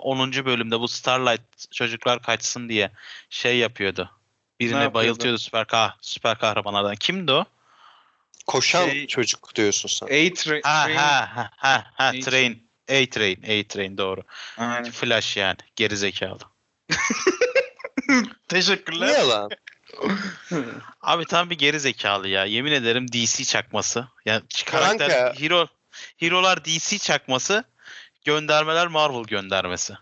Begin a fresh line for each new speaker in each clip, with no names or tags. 10. bölümde bu Starlight çocuklar kaçsın diye şey yapıyordu.
Ne
Birine
yapıyordu?
bayıltıyordu süper kah süper kahramanlardan. Kimdi o?
Koşan
Şey-
çocuk diyorsun sen.
A-Train.
Ha ha ha ha, ha
Neydi?
Train. A-Train, A-Train doğru.
Aynen.
Flash yani gerizekalı.
Ne
Teşekkürler.
yalan?
Abi tam bir gerizekalı ya. Yemin ederim DC çakması. Yani karakter
Kanka.
hero hero'lar DC çakması, göndermeler Marvel göndermesi.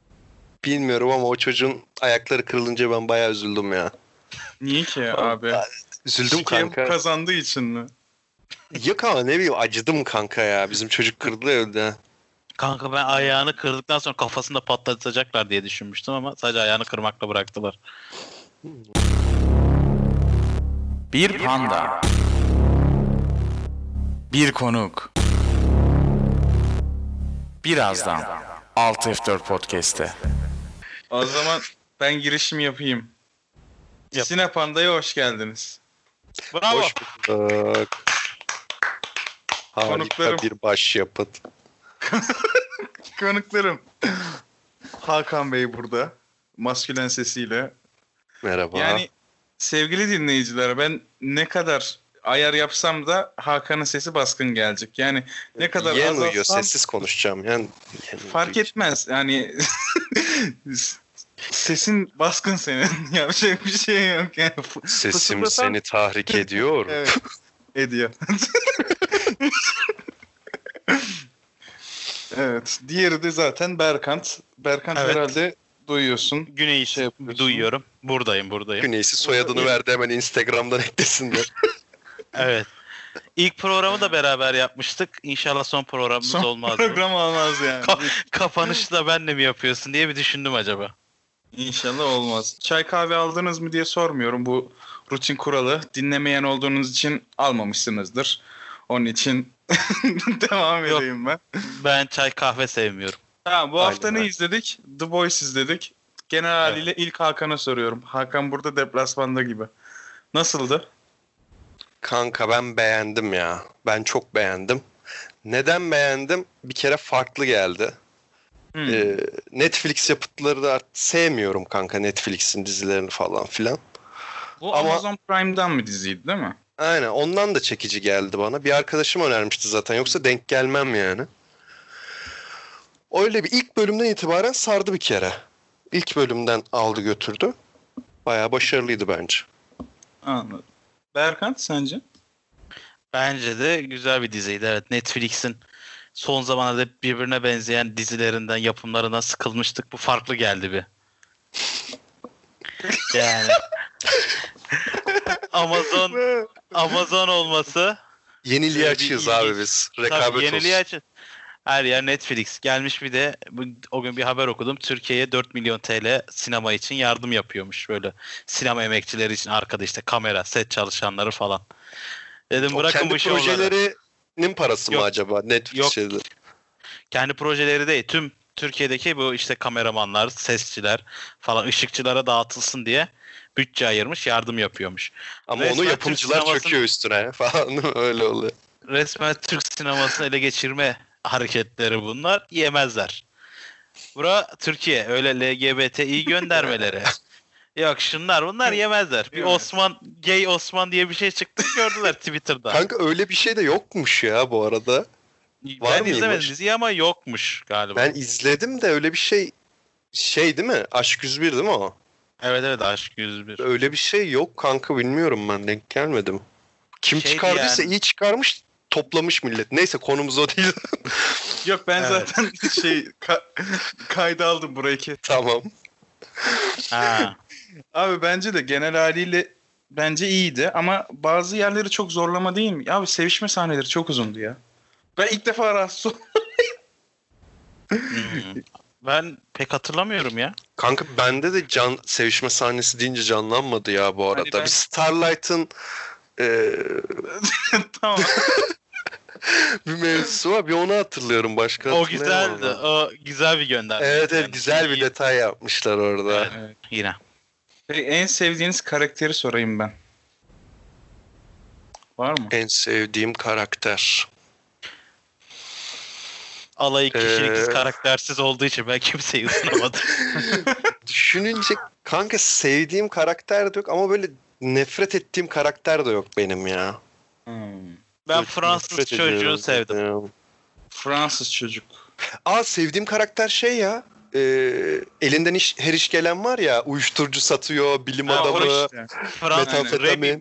Bilmiyorum ama o çocuğun ayakları kırılınca ben bayağı üzüldüm ya.
Niye ki ya abi?
Üzüldüm
Şikayem
kanka.
kazandığı için mi?
Yok ama ne bileyim acıdım kanka ya. Bizim çocuk kırıldı öldü. ha.
Kanka ben ayağını kırdıktan sonra kafasını da patlatacaklar diye düşünmüştüm ama sadece ayağını kırmakla bıraktılar.
Bir panda. Bir konuk. Birazdan 6F4 Podcast'te.
O zaman ben girişim yapayım.
Yap.
Sinepanda'ya hoş geldiniz.
Bravo.
Hoş bulduk. Harika
Konuklarım.
bir başyapıt.
Konuklarım. Hakan Bey burada. Maskülen sesiyle.
Merhaba.
Yani sevgili dinleyiciler ben ne kadar ayar yapsam da Hakan'ın sesi baskın gelecek. Yani ne kadar
Yen
azaltsam
uyuyor sessiz konuşacağım. Yen, yen
fark
uyuyor.
etmez. Yani sesin baskın senin. Yapacak bir şey yok. Yani
Sesim
Fısıldasan-
seni tahrik ediyor.
Evet. Ediyor. evet. Diğeri de zaten Berkant. Berkant
Evet.
herhalde duyuyorsun.
Güney
Şey yapıyorsun.
duyuyorum. Buradayım buradayım.
Güneysi soyadını verdi hemen Instagram'dan eklesinler.
evet. İlk programı da beraber yapmıştık. İnşallah son programımız
Son
olmaz. diye.
Program olmaz yani.
Kapanışı da benle mi yapıyorsun diye bir düşündüm acaba.
İnşallah olmaz. Çay kahve aldınız mı diye sormuyorum. Bu rutin kuralı. Dinlemeyen olduğunuz için almamışsınızdır. Onun için devam
Yok.
edeyim ben.
Ben çay kahve sevmiyorum.
Tamam bu
Aynen
hafta ne
öyle.
izledik? The Boys izledik. Genel haliyle ilk Hakan'a soruyorum. Hakan burada deplasmanda gibi. Nasıldı?
Kanka ben beğendim ya. Ben çok beğendim. Neden beğendim? Bir kere farklı geldi.
Hmm.
Ee, Netflix yapıtları da artık sevmiyorum kanka Netflix'in dizilerini falan filan.
Bu
ama-
Amazon Prime'dan mı diziydi değil mi?
Aynen ondan da çekici geldi bana. Bir arkadaşım önermişti zaten yoksa denk gelmem yani. Öyle bir ilk bölümden itibaren sardı bir kere. İlk bölümden aldı götürdü. Bayağı başarılıydı bence.
Anladım. Berkant sence?
Bence de güzel bir diziydi. Evet Netflix'in son zamanlarda birbirine benzeyen dizilerinden, yapımlarından sıkılmıştık. Bu farklı geldi bir. Yani. Amazon Amazon olması
Yeniliği
Şöyle bir
açığız
ilginç-
abi biz.
tabii
Rekabet
yeniliği
olsun.
açın. Her yer Netflix gelmiş bir de bu, o gün bir haber okudum. Türkiye'ye 4 milyon TL sinema için yardım yapıyormuş böyle. Sinema emekçileri için arkada işte kamera, set çalışanları falan. Dedim
O
bırakın
kendi
bu şovları.
projelerinin parası
Yok.
mı acaba Netflix
Yok.
şeyleri?
kendi projeleri değil tüm Türkiye'deki bu işte kameramanlar, sesçiler falan ışıkçılara dağıtılsın diye bütçe ayırmış, yardım yapıyormuş.
Ama
Resmen
onu
Türk
yapımcılar
sinemasının-
çöküyor üstüne falan öyle oluyor.
Resmen Türk sinemasını ele geçirme hareketleri bunlar. Yemezler. Bura Türkiye. Öyle LGBTİ göndermeleri. Yok şunlar bunlar yemezler. Bir
Yemez.
Osman, gay Osman diye bir şey çıktı gördüler Twitter'da.
Kanka öyle bir şey de yokmuş ya bu arada. var
ben izlemedim
mıymış?
diziyi ama yokmuş galiba.
Ben izledim de öyle bir şey şey değil mi? Aşk 101 değil mi o?
Evet evet Aşk 101.
Öyle bir şey yok kanka bilmiyorum ben denk gelmedim. Kim
Şeydi
çıkardıysa
yani.
iyi çıkarmış toplamış millet. Neyse konumuz o değil.
Yok ben
Evet.
zaten şey ka- kayda aldım burayı ki.
tamam.
Ha.
Abi bence de genel haliyle bence iyiydi ama bazı yerleri çok zorlama değil mi? Abi sevişme sahneleri çok uzundu ya. Ben ilk defa rahatsız oldum.
Hmm. Ben pek hatırlamıyorum ya.
Kanka bende de can sevişme sahnesi deyince canlanmadı ya
Hani
bu arada.
ben-
Bir Starlight'ın e,
tamam.
bir mevzusu var. Bir onu hatırlıyorum. Başka
O
hatırlayamam
güzeldi.
ben.
O güzel bir gönderme.
Evet
Yani
evet güzel bir
iyi-
detay yapmışlar orada.
Evet. Yine.
Peki, en sevdiğiniz karakteri sorayım ben. Var mı?
En sevdiğim karakter.
Alayı kişiliksiz
Ee.
karaktersiz olduğu için ben kimseyi ısınamadım.
Düşününce kanka sevdiğim karakter de yok ama böyle nefret ettiğim karakter de yok benim ya.
ben
Böyle
Fransız
nefret
çocuğu
ediyorum.
sevdim.
Fransız çocuk.
Aa sevdiğim karakter şey ya. e, elinden iş, her iş gelen var ya uyuşturucu satıyor, bilim
Ha, o
adamı.
işte.
Fransız
Metamfetamin.
Remy mi?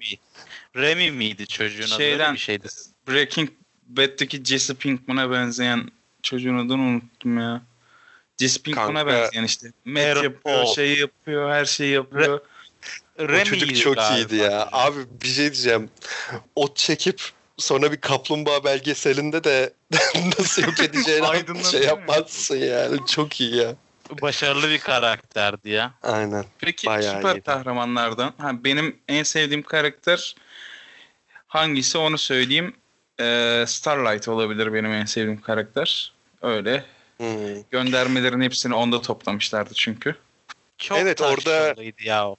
Remy miydi çocuğun adı? Öyle
Şeyden-
bir şeydi.
Breaking Bad'deki Jesse Pinkman'a benzeyen çocuğun adını unuttum ya. Jesse Pinkman'a
Kanka,
benzeyen işte. Met
Aaron
yapıyor,
Paul.
şey yapıyor, her şeyi yapıyor.
O
Remy
çocuk çok iyiydi ya. Abi bir şey diyeceğim. Ot çekip sonra bir kaplumbağa belgeselinde de nasıl yok edeceğini
Aydınlanıyor
şey
ya.
yapmazsın yani. Çok iyi ya.
Başarılı bir karakterdi ya.
Aynen.
Peki
Bayağı
süper
iyiydi.
kahramanlardan. Ha, benim en sevdiğim karakter hangisi onu söyleyeyim. Ee, Starlight olabilir benim en sevdiğim karakter. Öyle.
Hmm.
Göndermelerin hepsini onda toplamışlardı çünkü.
Çok
Evet, orada-
tartışmalıydı ya o.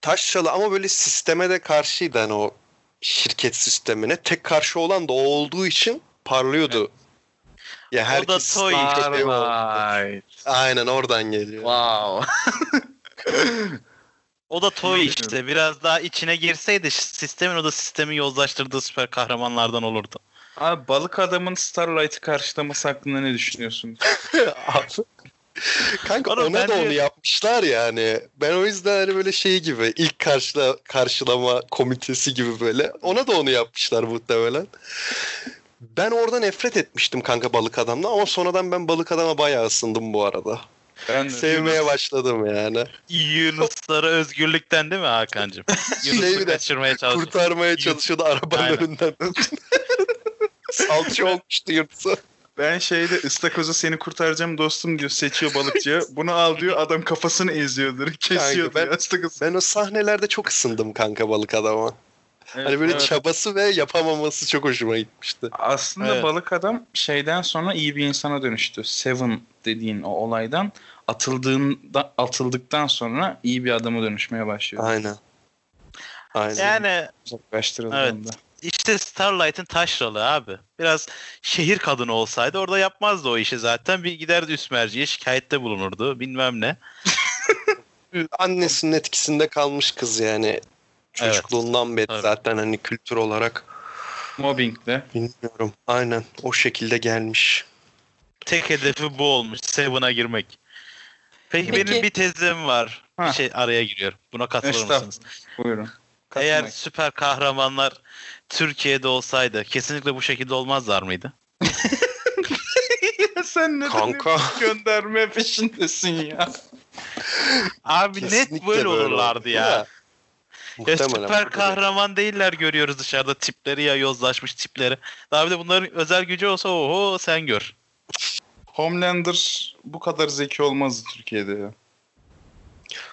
Taşralı ama böyle sisteme de karşıydı hani o şirket sistemine. Tek karşı olan da o olduğu için parlıyordu. Ya
O da
herkes şey
toy.
Starlight.
Aynen oradan geliyor.
Wow.
O da toy işte. Biraz daha içine girseydi sistemin o da sistemi yozlaştırdığı süper kahramanlardan olurdu.
Abi balık adamın Starlight'ı karşılaması hakkında ne düşünüyorsun?
Abi. Kanka
Oğlum
ona da
bence-
onu yapmışlar yani. Ben o yüzden hani böyle şey gibi ilk karşıla, karşılama komitesi gibi böyle. Ona da onu yapmışlar muhtemelen. Ben orada nefret etmiştim kanka balık adamla ama sonradan ben balık adama bayağı ısındım bu arada.
Ben
Sevmeye başladım yani.
Yunuslara özgürlükten değil mi Hakan'cığım?
Şey bir
Yunus'u
de,
kaçırmaya çalışıyor.
Kurtarmaya çalışıyordu arabanın
Aynen.
önünden. Salça olmuştu yırtsa.
Ben şeyde ıstakozu seni kurtaracağım dostum diyor seçiyor balıkçıya. Bunu al diyor adam kafasını eziyor direkt kesiyor
Kanka, ben-
diyor ıstakozu.
Ben o sahnelerde çok ısındım kanka balık adama. Hani böyle
Evet.
çabası ve yapamaması çok hoşuma gitmişti.
Aslında
Evet.
balık adam şeyden sonra iyi bir insana dönüştü. Seven dediğin o olaydan atıldığında atıldıktan sonra iyi bir adama dönüşmeye başlıyor.
Aynen. Aynen.
Yani
Uzaklaştırıldığında.
işte Starlight'ın taşralı abi. Biraz şehir kadını olsaydı orada yapmazdı o işi zaten. Bir giderdi üst merciye şikayette bulunurdu bilmem ne.
Annesinin etkisinde kalmış kız yani. Çocukluğundan beri
Tabii.
zaten hani kültür olarak
Mobbingle.
bilmiyorum. Aynen o şekilde gelmiş.
Tek hedefi bu olmuş. Seven'a girmek. Peki,
Peki.
benim bir tezim var.
Ha.
Bir şey araya giriyorum. Buna katılır
Estağfurullah.
mısınız?
Buyurun.
Eğer süper kahramanlar Türkiye'de olsaydı kesinlikle bu şekilde olmazlar mıydı?
Katılmayın. sen neden
Kanka.
hep gönderme peşindesin ya?
Abi net
Kesinlikle
böyle
olurdu
olurlardı
da.
ya. Ya
Muhtemelen.
süper kahraman değiller görüyoruz dışarıda tipleri ya yozlaşmış tipleri. Daha bir de bunların özel gücü olsa oho sen gör.
Homelander bu kadar zeki olmazdı Türkiye'de ya.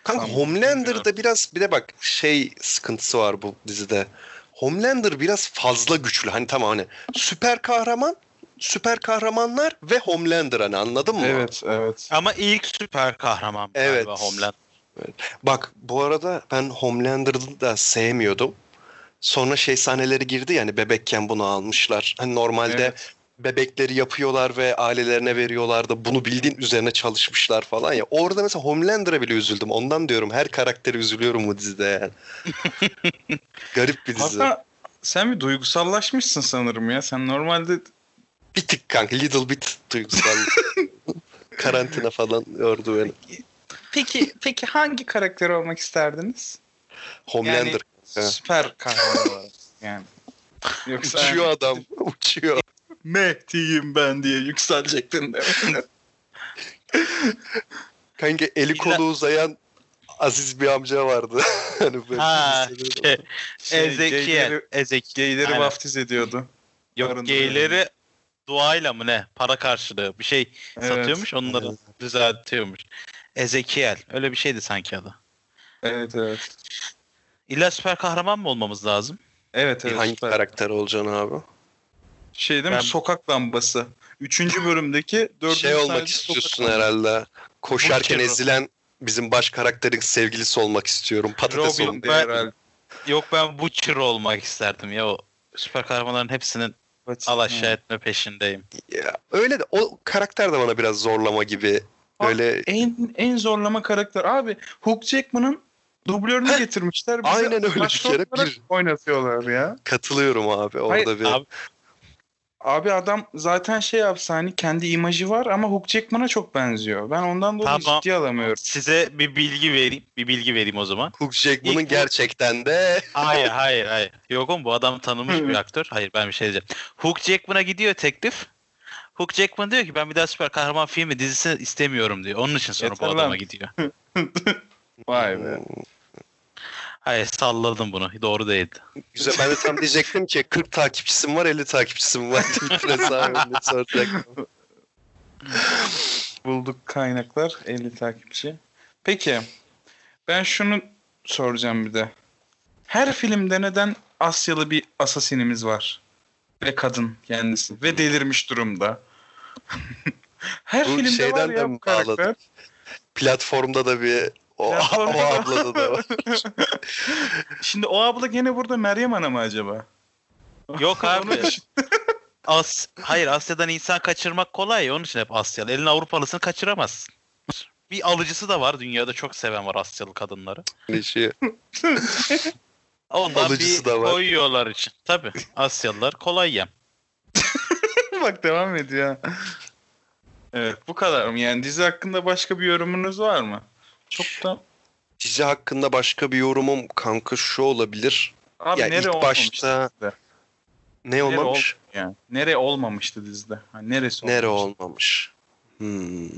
Kanka
Tamam.
Homelander'da biraz bir de bak şey sıkıntısı var bu dizide. Homelander biraz fazla güçlü. Hani tamam hani süper kahraman, süper kahramanlar ve Homelander hani anladın mı?
Evet evet.
Ama ilk süper kahraman galiba
Evet.
Homeland.
Bak bu arada ben Homelander'ı da sevmiyordum. Sonra şey sahneleri girdi yani bebekken bunu almışlar. Hani normalde bebekleri yapıyorlar ve ailelerine veriyorlar da bunu bildiğin üzerine çalışmışlar falan ya. Orada mesela Homelander'a bile üzüldüm. Ondan diyorum her karakteri üzülüyorum bu dizide yani. Garip bir dizi.
Hatta sen bir duygusallaşmışsın sanırım ya. Sen normalde
Bir tık kanka little bit duygusal. Karantina falan yordu beni.
Peki peki hangi karakter olmak isterdiniz?
Homelander. He.
Süper kahraman olarak yani. Yoksa
uçuyor adam. Uçuyor.
Mehdi'yim ben diye yükselecektin de.
Kanka eli kolu uzayan Aziz bir amca vardı. hani böyle
Ha,
hissediyorum.
şey, Ezekiel.
Geyleri,
Ezekiel.
geyleri
Aynen.
vaftiz ediyordu. Yarın
Yok geyleri duayla mı ne? Para karşılığı bir şey
Evet.
satıyormuş onları düzeltiyormuş. Ezekiel. Öyle bir şeydi sanki adı.
Evet evet.
İlla süper kahraman mı olmamız lazım?
Evet evet.
Hangi
süper.
karakter olacaksın abi?
Şey değil mi?
Ben-
Sokak lambası. Üçüncü bölümdeki dördüncü
şey olmak
sahnede
istiyorsun
sokak
herhalde. Koşarken
Burkero.
ezilen bizim baş karakterin sevgilisi olmak istiyorum. Patates
lambası.
olmak.
Robin de
Ben-
herhalde.
Yok ben Butcher olmak isterdim ya o süper kahramanların hepsinin al
Hmm.
aşağı etme peşindeyim.
Ya, öyle de o karakter de bana biraz zorlama gibi. Böyle
En, en zorlama karakter. Abi Hugh Jackman'ın dublörünü getirmişler. bize
Aynen öyle bir
başrol
kere
olarak
bir-
Oynatıyorlar ya.
katılıyorum abi orada
Hayır,
bir.
abi-
Abi adam zaten şey yapsa hani kendi imajı var ama Hugh Jackman'a çok benziyor. Ben ondan dolayı
Tamam.
ciddiye alamıyorum.
Size bir bilgi vereyim. Bir bilgi vereyim o zaman.
Hugh Jackman'ın
İlk-
gerçekten de
Hayır hayır hayır. Yok oğlum bu adam tanınmış bir aktör. Hayır ben bir şey diyeceğim. Hugh Jackman'a gidiyor teklif. Hugh Jackman diyor ki ben bir daha süper kahraman filmi dizisi istemiyorum diyor. Onun için sonra
Yeter
bu
lan.
adama gidiyor.
Vay be.
Hayır salladım bunu. Doğru değildi.
güzel. Ben de tam diyecektim ki 40 takipçisim var 50 takipçisim var. Biraz abi öyle soracaktım.
Bulduk kaynaklar 50 takipçi. Peki ben şunu soracağım bir de. Her filmde neden Asyalı bir asasinimiz var? Ve kadın kendisi. Ve delirmiş durumda. Her
Bu
filmde var
şeyden de
ya
mi
bu karakter.
bağladın? Platformda da bir o,
Platformda
o
da-
ablada da var.
Şimdi o abla gene burada Meryem Ana mı acaba?
Yok abi. As Hayır Asya'dan insan kaçırmak kolay ya. Onun için hep Asyalı. Elin Avrupalısını kaçıramazsın. Bir alıcısı da var. Dünyada çok seven var Asyalı kadınları.
Şey,
Ondan
Alıcısı
bir
da var.
koyuyorlar için. Tabii. Asyalılar kolay yem.
Bak devam ediyor. Evet bu kadar mı? Yani dizi hakkında başka bir yorumunuz var mı? Çok da...
Dizi hakkında başka bir yorumum kanka şu olabilir.
Abi
yani
nere
ilk
olmamıştı
başta
dizide?
ne
Nere
olmamış?
ol- yani. Nere olmamıştı dizide? Hani neresi
Nere
olmamıştı?
olmamış? Hmm.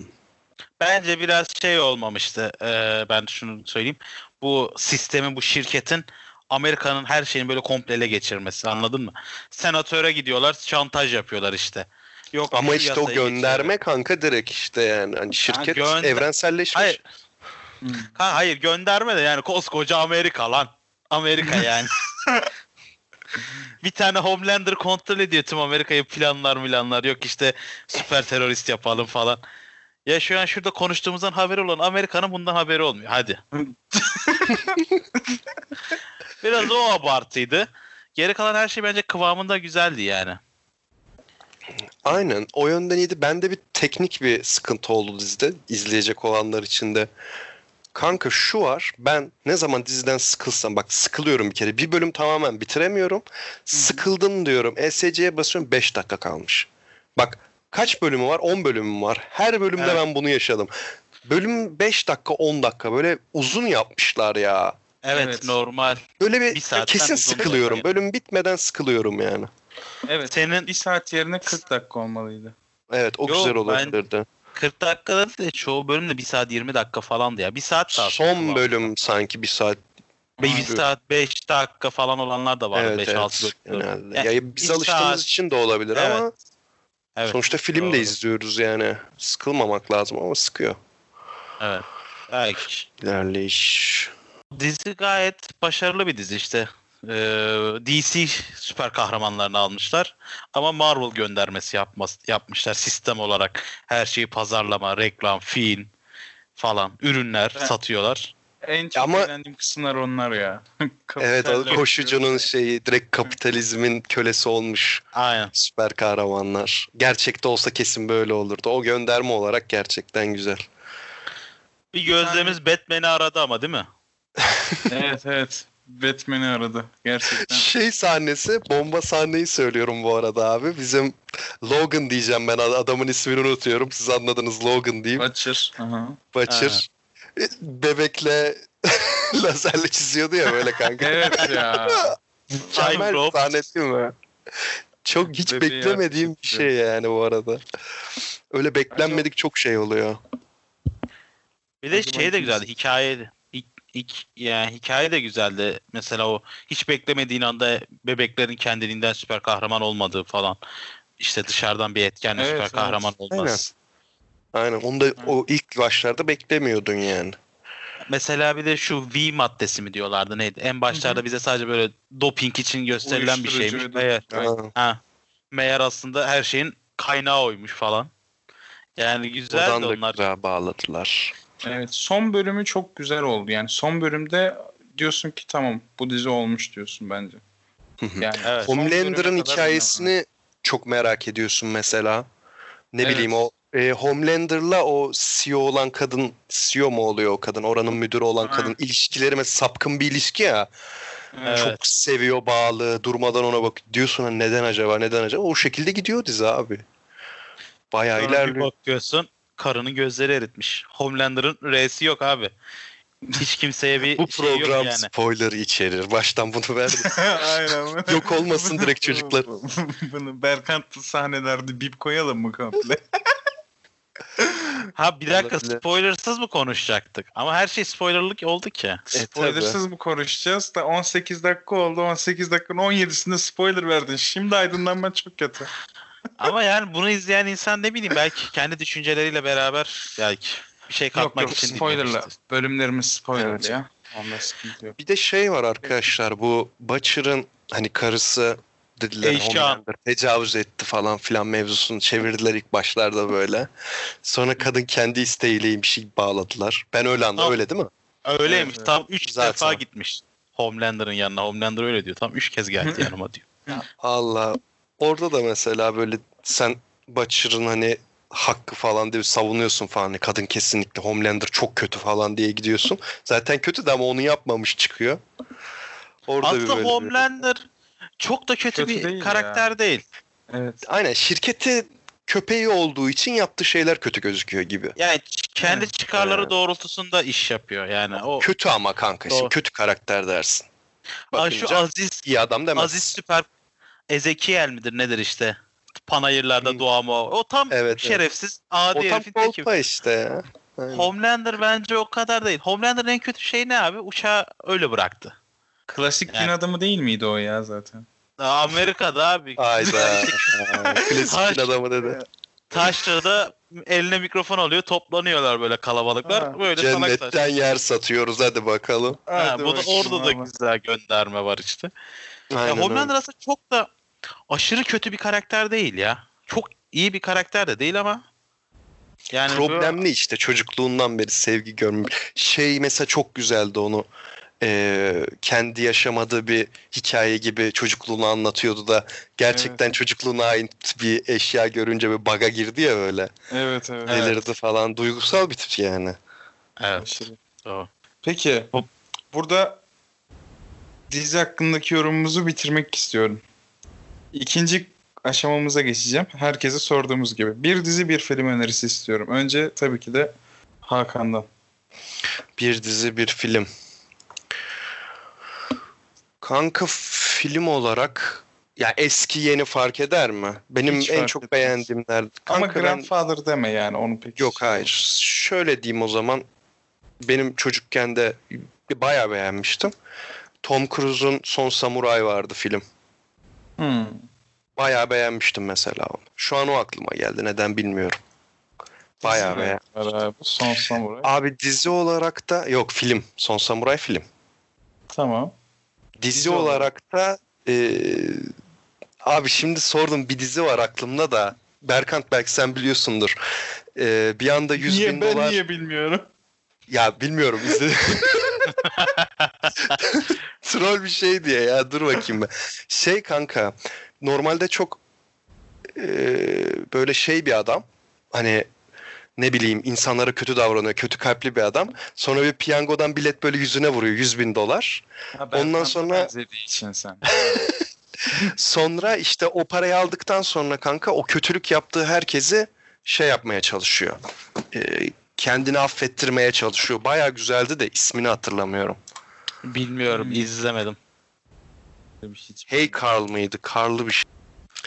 Bence biraz şey olmamıştı. Ee, ben şunu söyleyeyim. Bu sistemin, bu şirketin Amerika'nın her şeyini böyle komple ele geçirmesi anladın mı? Senatöre gidiyorlar, şantaj yapıyorlar işte. Yok
Ama
şu
işte o
yasayı
gönderme
geçirelim.
kanka direkt işte yani. Hani şirket
gönder-
evrenselleşmiş.
Hayır.
Hmm.
Ha, hayır gönderme de yani koskoca Amerika lan. Amerika yani. bir tane Homelander kontrol ediyor tüm Amerika'yı planlar milanlar. Yok işte süper terörist yapalım falan. Ya şu an şurada konuştuğumuzdan haberi olan Amerika'nın bundan haberi olmuyor. Hadi. Biraz o abartıydı. Geri kalan her şey bence kıvamında güzeldi yani.
Aynen o yönden iyiydi. Bende bir teknik bir sıkıntı oldu dizide izleyecek olanlar için de. Kanka şu var ben ne zaman diziden sıkılsam bak sıkılıyorum bir kere bir bölüm tamamen bitiremiyorum. Sıkıldım diyorum ESC'ye basıyorum 5 dakika kalmış. Bak kaç bölümü var 10 bölümü var her bölümde
Evet.
ben bunu yaşadım. Bölüm 5 dakika 10 dakika böyle uzun yapmışlar ya.
Evet,
Evet.
normal.
Böyle bir,
Bir saatten
kesin
uzun da
sıkılıyorum.
yani.
Bölüm bitmeden sıkılıyorum yani.
Evet.
Senin
Bir saat yerine 40 dakika olmalıydı.
Evet o
Yo,
güzel
ben-
olabilirdi.
40 dakikada da çoğu bölümde 1 saat 20 dakika falandı ya. 1 saat daha.
Son bölüm sanki bir saat
Bir bir saat 5 dakika falan olanlar da vardı.
Evet,
5
evet.
6
genelde.
Yani
ya biz
bir
alıştığımız
saat-
için de olabilir ama
Evet.
sonuçta film
doğru.
de izliyoruz yani. Sıkılmamak lazım ama sıkıyor.
Evet. Belki.
İlerleyiş.
Dizi gayet başarılı bir dizi işte. Ee, DC süper kahramanlarını almışlar ama Marvel göndermesi yapmaz, yapmışlar sistem olarak. Her şeyi pazarlama, reklam, film falan ürünler
Ben-
satıyorlar.
En çok
Ama-
eğlendiğim kısımlar onlar ya.
Evet
Kapitalizm.
o koşucunun
şey.
şeyi direkt kapitalizmin kölesi olmuş
Aynen.
süper kahramanlar. Gerçekte olsa kesin böyle olurdu. O gönderme olarak gerçekten güzel.
Bir gözlemiz Batman'i aradı ama değil mi?
Evet evet. Batman'i aradı. Gerçekten.
Şey sahnesi bomba sahneyi söylüyorum bu arada abi. Bizim Logan diyeceğim ben adamın ismini unutuyorum. Siz anladınız Logan diyeyim.
Açır. Aha.
Butcher e, bebekle lazerle çiziyordu ya böyle kanka.
Evet ya.
Mükemmel bir
Rob.
sahne değil mi? Çok hiç
Bebeği
beklemediğim bir şey yani bu arada. Öyle beklenmedik çok şey oluyor.
Bir de
Acaba
şey de
ikimiz-
güzeldi. Hikaye ik, ik- yani hikaye de güzeldi. Mesela o hiç beklemediğin anda bebeklerin kendiliğinden süper kahraman olmadığı falan. İşte dışarıdan bir etkenle
Evet,
süper
evet.
kahraman olmaz.
Aynen onu da o ilk başlarda beklemiyordun yani.
Mesela bir de şu V maddesi mi diyorlardı neydi? En başlarda bize sadece böyle doping için gösterilen bir
Uyuşturucu
şeymiş.
ve
Meğer,
Evet.
Ha,
ha, meğer aslında her şeyin kaynağı oymuş falan. Yani
Oradan
güzeldi
da
onlar.
güzel bağladılar.
Evet son bölümü çok güzel oldu. Yani son bölümde diyorsun ki tamam bu dizi olmuş diyorsun bence.
hı.
Yani
Evet.
son bölüme
Homelander'ın
kadar
hikayesini çok merak ediyorsun mesela. Ne
Evet.
bileyim o e, Homelander'la o CEO olan kadın, CEO mu oluyor o kadın? Oranın müdürü olan
Aynen.
kadın ilişkileri mesela sapkın bir ilişki ya.
Evet.
Çok seviyor, bağlı, durmadan ona bak. Diyorsun "Ha, neden acaba, neden acaba? O şekilde gidiyor dizi abi. Bayağı
Sonra bir
ilerliyor.
bakıyorsun karının gözleri eritmiş. Homelander'ın R'si yok abi. Hiç kimseye bir
Bu
şey
program
yok yani.
spoiler içerir. Baştan bunu ver.
Aynen.
Yok olmasın direkt çocuklar.
Bunu Berkant sahnelerde bip koyalım mı komple?
Ha bir dakika
Olabilir.
spoilersız mı konuşacaktık? Ama her şey spoilerlık oldu ki.
E, Spoilersız mı konuşacağız da 18 dakika oldu. 18 dakikanın 17'sinde spoiler verdin. Şimdi aydınlanma çok kötü.
Ama yani bunu izleyen insan ne bileyim belki kendi düşünceleriyle beraber belki bir şey katmak için
spoilerla.
dinlemiştir.
Bölümlerimiz spoiler
Evet.
ya. Onda sıkıntı yok.
Bir de şey var arkadaşlar bu Butcher'ın hani karısı dediler
Eşya.
Homelander tecavüz etti falan filan mevzusunu çevirdiler ilk başlarda böyle. Sonra kadın kendi isteğiyle bir şey bağladılar. Ben öyle anladım
Tamam.
öyle değil mi?
Öyleymiş.
Evet, evet.
Tam 3
Zaten.
defa gitmiş. Homelander'ın yanına. Homelander öyle diyor. Tam 3 kez geldi yanıma diyor.
Allah. Orada da mesela böyle sen Butcher'ın hani hakkı falan diye savunuyorsun falan. Hani Kadın kesinlikle Homelander çok kötü falan diye gidiyorsun. Zaten kötü de ama onu yapmamış çıkıyor. Orada bir
Aslında
böyle bir-
Homelander çok da kötü,
Kötü değil
bir
ya.
karakter değil.
Evet.
Aynen şirketi köpeği olduğu için yaptığı şeyler kötü gözüküyor gibi.
Yani ç- kendi
Evet,
çıkarları
evet.
doğrultusunda iş yapıyor yani. O
Kötü ama kanka.
Doğru.
Şimdi kötü karakter dersin.
Aa,
Bakınca
şu Aziz
iyi adam demez.
Aziz Süper Ezekiel midir nedir işte? Panayırlarda
Hı.
doğama o. O tam
Evet, evet.
şerefsiz
o
adi
tam
herifin teki.
kolpa işte ya. Aynen.
Homelander bence o kadar değil. Homelander'ın en kötü şeyi ne abi? Uçağı öyle bıraktı.
Klasik din
Yani.
adamı değil miydi o ya zaten?
Aa, Amerika'da abi.
Ayda. Klasik bir adamı dedi.
Taşra'da eline mikrofon alıyor. Toplanıyorlar böyle kalabalıklar.
Ha.
böyle salak saçma.
Cennetten yer satıyoruz hadi bakalım.
Ha,
Hadi
bu da
bakayım
orada da
ama.
güzel gönderme var işte.
Aynen
Ya
öyle.
Homelander aslında çok da aşırı kötü bir karakter değil ya. Çok iyi bir karakter de değil ama yani
Problemli işte çocukluğundan beri sevgi görmüş. Şey mesela çok güzeldi onu. Ee, kendi yaşamadığı bir hikaye gibi çocukluğunu anlatıyordu da gerçekten çocukluğuna ait bir eşya görünce bir baga girdi ya böyle.
Evet
Evet.
evet.
Delirdi falan. Duygusal bir tip yani.
bu- evet.
Aşırı.
Doğru.
Peki
Hop.
burada dizi hakkındaki yorumumuzu bitirmek istiyorum. İkinci aşamamıza geçeceğim. Herkese sorduğumuz gibi. Bir dizi bir film önerisi istiyorum. Önce tabii ki de Hakan'dan.
Bir dizi bir film. Kanka film olarak ya eski yeni fark eder mi? Benim
Hiç
en
fark
çok
etmez.
beğendiğimler.
Ama
Kanka ben-
Grandfather deme yani onu pek.
Yok hayır. Şöyle diyeyim o zaman. Benim çocukken de bayağı beğenmiştim. Tom Cruise'un Son Samuray vardı film.
Hmm.
Bayağı beğenmiştim mesela onu. Şu an o aklıma geldi. Neden bilmiyorum. Bayağı
Dizi
beğen.
var abi. Son Samuray.
Abi dizi olarak da yok film. Son Samuray film.
Tamam.
Dizi,
Dizi
olarak da e, abi şimdi sordum bir dizi var aklımda da Berkant belki sen biliyorsundur. E, bir anda 100
niye
bin
ben
dolar
niye bilmiyorum?
ya bilmiyorum izledim. Troll bir şey diye ya dur bakayım ben. Şey kanka normalde çok e, böyle şey bir adam hani ne bileyim insanlara kötü davranıyor kötü kalpli bir adam sonra bir piyangodan bilet böyle yüzüne vuruyor 100 bin dolar
Ha,
Ondan
Berkant'a
sonra-
benzediği için sen.
Sonra işte o parayı aldıktan sonra kanka o kötülük yaptığı herkesi şey yapmaya çalışıyor. Ee, kendini affettirmeye çalışıyor. Baya güzeldi de ismini hatırlamıyorum.
Bilmiyorum
Hmm.
izlemedim.
Hiç-
Hey Carl mıydı? Karlı bir şey.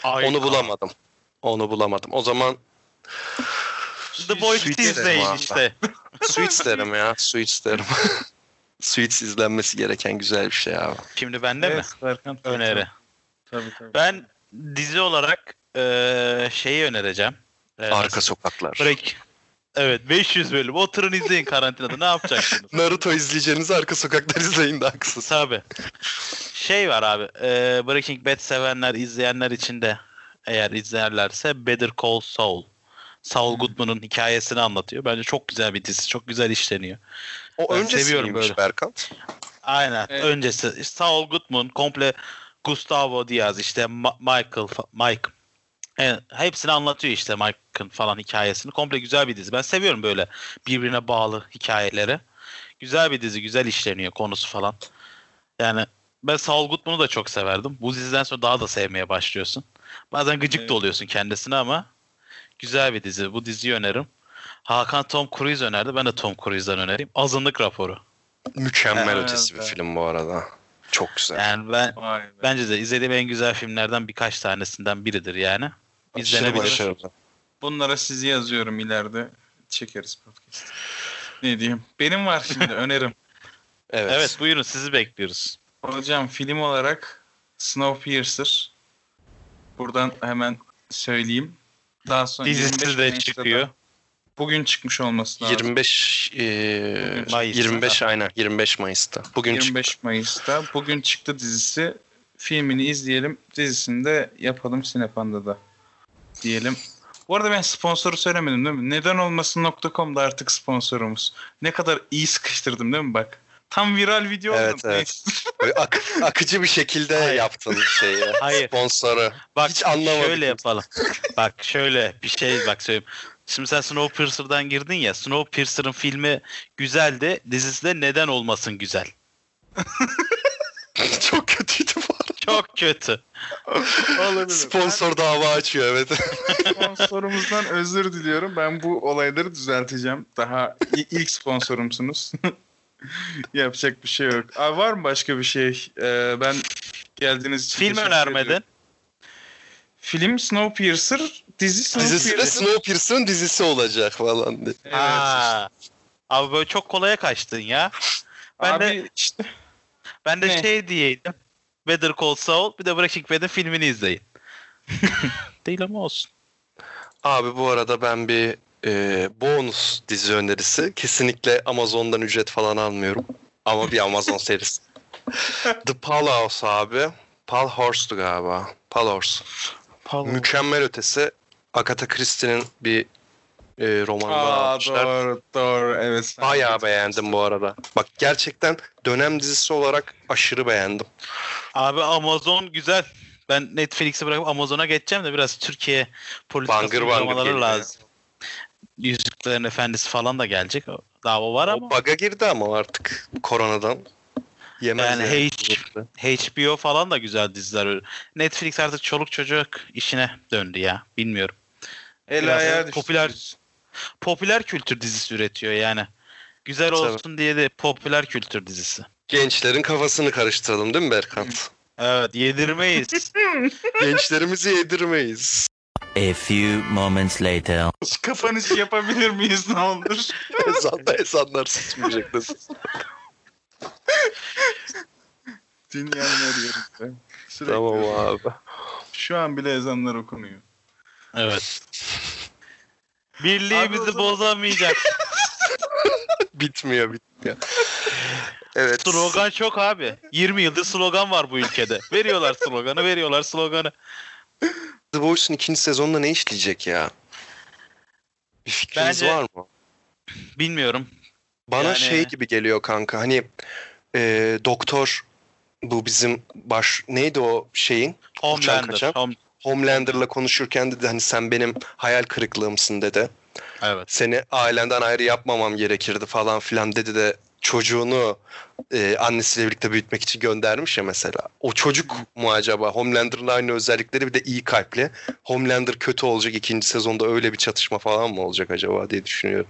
Ay,
Onu bulamadım. Onu bulamadım. O zaman
ah, The Boys
Sweet
izleyin
Death.
işte.
Suits derim ya. Suits derim. Suits izlenmesi gereken güzel bir şey abi.
Şimdi bende mi?
Evet, Berkant
Öneri.
Tabii, tabii.
Ben dizi olarak eee, şeyi önereceğim. Eee,
Arka sokaklar.
Break. Evet 500 bölüm. Oturun izleyin karantinada. Ne yapacaksınız?
Naruto izleyeceğiniz arka sokaklar izleyin de haksız.
Tabii. Şey var abi. eee, Breaking Bad sevenler, izleyenler için de eğer izlerlerse Better Call Saul. Saul Goodman'ın hikayesini anlatıyor. Bence çok güzel bir dizi. Çok güzel işleniyor.
O
Ben
öncesi
seviyorum
miymiş
böyle.
Berkant?
Aynen.
Evet.
Öncesi Saul Goodman komple Gustavo Diaz işte Ma- Michael fa- Mike Evet, hepsini anlatıyor işte Mike'ın falan hikayesini. Komple güzel bir dizi. Ben seviyorum böyle birbirine bağlı hikayeleri. Güzel bir dizi, güzel işleniyor konusu falan. Yani ben Saul Goodman'ı da çok severdim. Bu diziden sonra daha da sevmeye başlıyorsun. Bazen gıcık
Evet.
da oluyorsun kendisine ama güzel bir dizi. Bu diziyi öneririm. Hakan Tom Cruise önerdi. Ben de Tom Cruise'dan önereyim. Azınlık raporu.
Mükemmel
Evet,
ötesi bir
evet.
film bu arada. Çok güzel.
Yani ben
Vay be.
bence de izlediğim en güzel filmlerden birkaç tanesinden biridir yani.
Aşırı
İzlenebilir.
başarılı.
Bunlara sizi yazıyorum ileride. Çekeriz podcast. Ne diyeyim? Benim var şimdi önerim.
Evet.
Evet. buyurun sizi bekliyoruz.
Hocam film olarak Snowpiercer. Buradan hemen söyleyeyim. Daha sonra
Dizisi
25
de
Mayıs'ta da-
çıkıyor.
Bugün çıkmış olması lazım.
25 e,
Mayıs'ta.
25 aynen 25 Mayıs'ta. Bugün çıktı.
25 Mayıs'ta. Bugün çıktı dizisi. Filmini izleyelim. Dizisini de yapalım Sinepanda'da. Diyelim. Bu arada ben sponsoru söylemedim değil mi? Neden olmasın.com da artık sponsorumuz. Ne kadar iyi sıkıştırdım değil mi bak? Tam viral video
Evet,
oldum.
evet.
Neyse.
Böyle ak- akıcı bir şekilde
Hayır.
yaptın şeyi.
Hayır.
Sponsoru.
Bak
Hiç anlamadım.
şöyle yapalım. bak şöyle bir şey bak söyleyeyim. Şimdi sen Snowpiercer'dan girdin ya. Snowpiercer'ın filmi güzeldi. Dizisi de neden olmasın güzel.
Çok kötüydü bu arada.
Çok kötü.
Sponsor dava açıyor evet.
Sponsorumuzdan özür diliyorum. Ben bu olayları düzelteceğim. Daha i- ilk sponsorumsunuz. Yapacak bir şey yok. Aa, var mı başka bir şey? Ee, ben geldiğiniz için
Film
teşekkür
önermedin.
ediyorum. Film Snowpiercer, dizi
Dizisi
Snowpiercer.
de Snowpiercer'ın dizisi olacak falan diye.
Evet.
Ha. Abi böyle çok kolaya kaçtın ya. ben
Abi
de-
işte
Ben de
Ne?
şey diyeydim. Better Call Saul bir de Breaking Bad'in filmini izleyin. Değil ama olsun.
Abi bu arada ben bir e, bonus dizi önerisi. Kesinlikle Amazon'dan ücret falan almıyorum. Ama bir Amazon serisi. The Palhouse abi. Palhorse'tu galiba. Palhorse.
Hmm.
Mükemmel ötesi. Agatha Christie'nin bir e, romanını
Aa,
almışlar.
doğru doğru evet. sen-
Bayağı beğendim bu arada. Bak gerçekten dönem dizisi olarak aşırı beğendim.
Abi Amazon güzel. Ben Netflix'i bırakıp Amazon'a geçeceğim de biraz Türkiye politikası
Bangır bangır
uygulamaları
geliyor.
lazım. Yüzüklerin Efendisi falan da gelecek. Daha o var ama
O baga girdi ama artık koronadan. Yemez
Yani H- HBO falan da güzel diziler. Netflix artık çoluk çocuk işine döndü ya. Bilmiyorum.
El
Biraz
ayağa
da
düştü.
popüler- Popüler kültür dizisi üretiyor yani. Güzel
Tabii.
olsun diye de popüler kültür dizisi.
Gençlerin kafasını karıştıralım değil mi Berkant?
Evet yedirmeyiz.
Gençlerimizi yedirmeyiz.
A few moments later.
Kapanışı şey yapabilir miyiz ne olur?
Ezanda ezanlar susmayacak nasıl?
Dünyanın her yerinde. Sürekli.
tamam abi.
Şu an bile ezanlar okunuyor.
evet.
Abi o
Birliğimizi
zaman-
bozamayacak.
Bitmiyor bitmiyor. Evet.
Slogan çok abi. 20 yıldır slogan var bu ülkede. Veriyorlar sloganı, veriyorlar sloganı.
The Boys'un ikinci sezonunda ne işleyecek ya? Bir fikriniz
Bence-
var mı?
Bilmiyorum.
Bana
Yani-
şey gibi geliyor kanka hani e, doktor bu bizim baş neydi o şeyin
Homelander.
kaçan?
Home...
Homelander'la konuşurken dedi hani sen benim hayal kırıklığımsın dedi.
Evet.
Seni ailenden ayrı yapmamam gerekirdi falan filan dedi de çocuğunu e, annesiyle birlikte büyütmek için göndermiş ya mesela. O çocuk mu acaba? Homelander'ın aynı özellikleri bir de iyi kalpli. Homelander kötü olacak ikinci sezonda öyle bir çatışma falan mı olacak acaba diye düşünüyorum.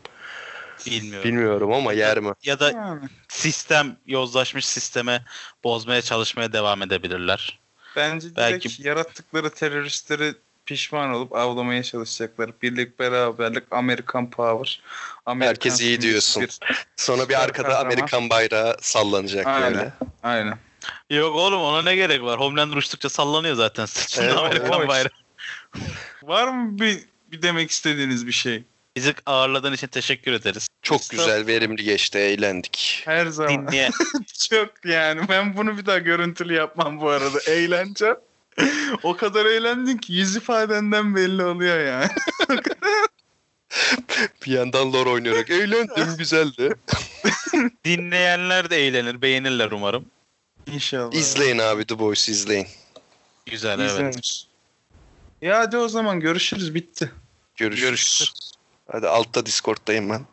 Bilmiyorum.
Bilmiyorum ama yer mi?
Ya da
Yani.
sistem, yozlaşmış sisteme bozmaya çalışmaya devam edebilirler.
Bence direkt
Belki-
yarattıkları teröristleri pişman olup avlamaya çalışacaklar. Birlik beraberlik Amerikan power. Amerikan
Herkes iyi diyorsun.
bir-
Sonra bir
Süper
arkada
kahraman.
Amerikan bayrağı sallanacak böyle.
Aynen. Aynen.
Yok oğlum ona ne gerek var? Homelander uçtukça sallanıyor zaten. Sırtında
Evet,
Amerikan
evet.
bayrağı.
Var mı bir, bir demek istediğiniz bir şey?
Bizi ağırladığın için teşekkür ederiz.
Çok güzel, verimli geçti, eğlendik.
Her zaman.
Dinleyen,
Çok yani. Ben bunu bir daha görüntülü yapmam bu arada. Eğleneceğim. o kadar eğlendin ki yüz ifadenden belli oluyor yani.
Bir yandan lor oynayarak eğlendim, güzeldi.
dinleyenler de eğlenir, beğenirler umarım.
İnşallah.
İzleyin abi The Boys'u izleyin.
Güzel evet.
İzlenir. Ya hadi o zaman görüşürüz bitti.
Görüşürüz.
Görüşürüz.
Hadi altta Discord'dayım ben.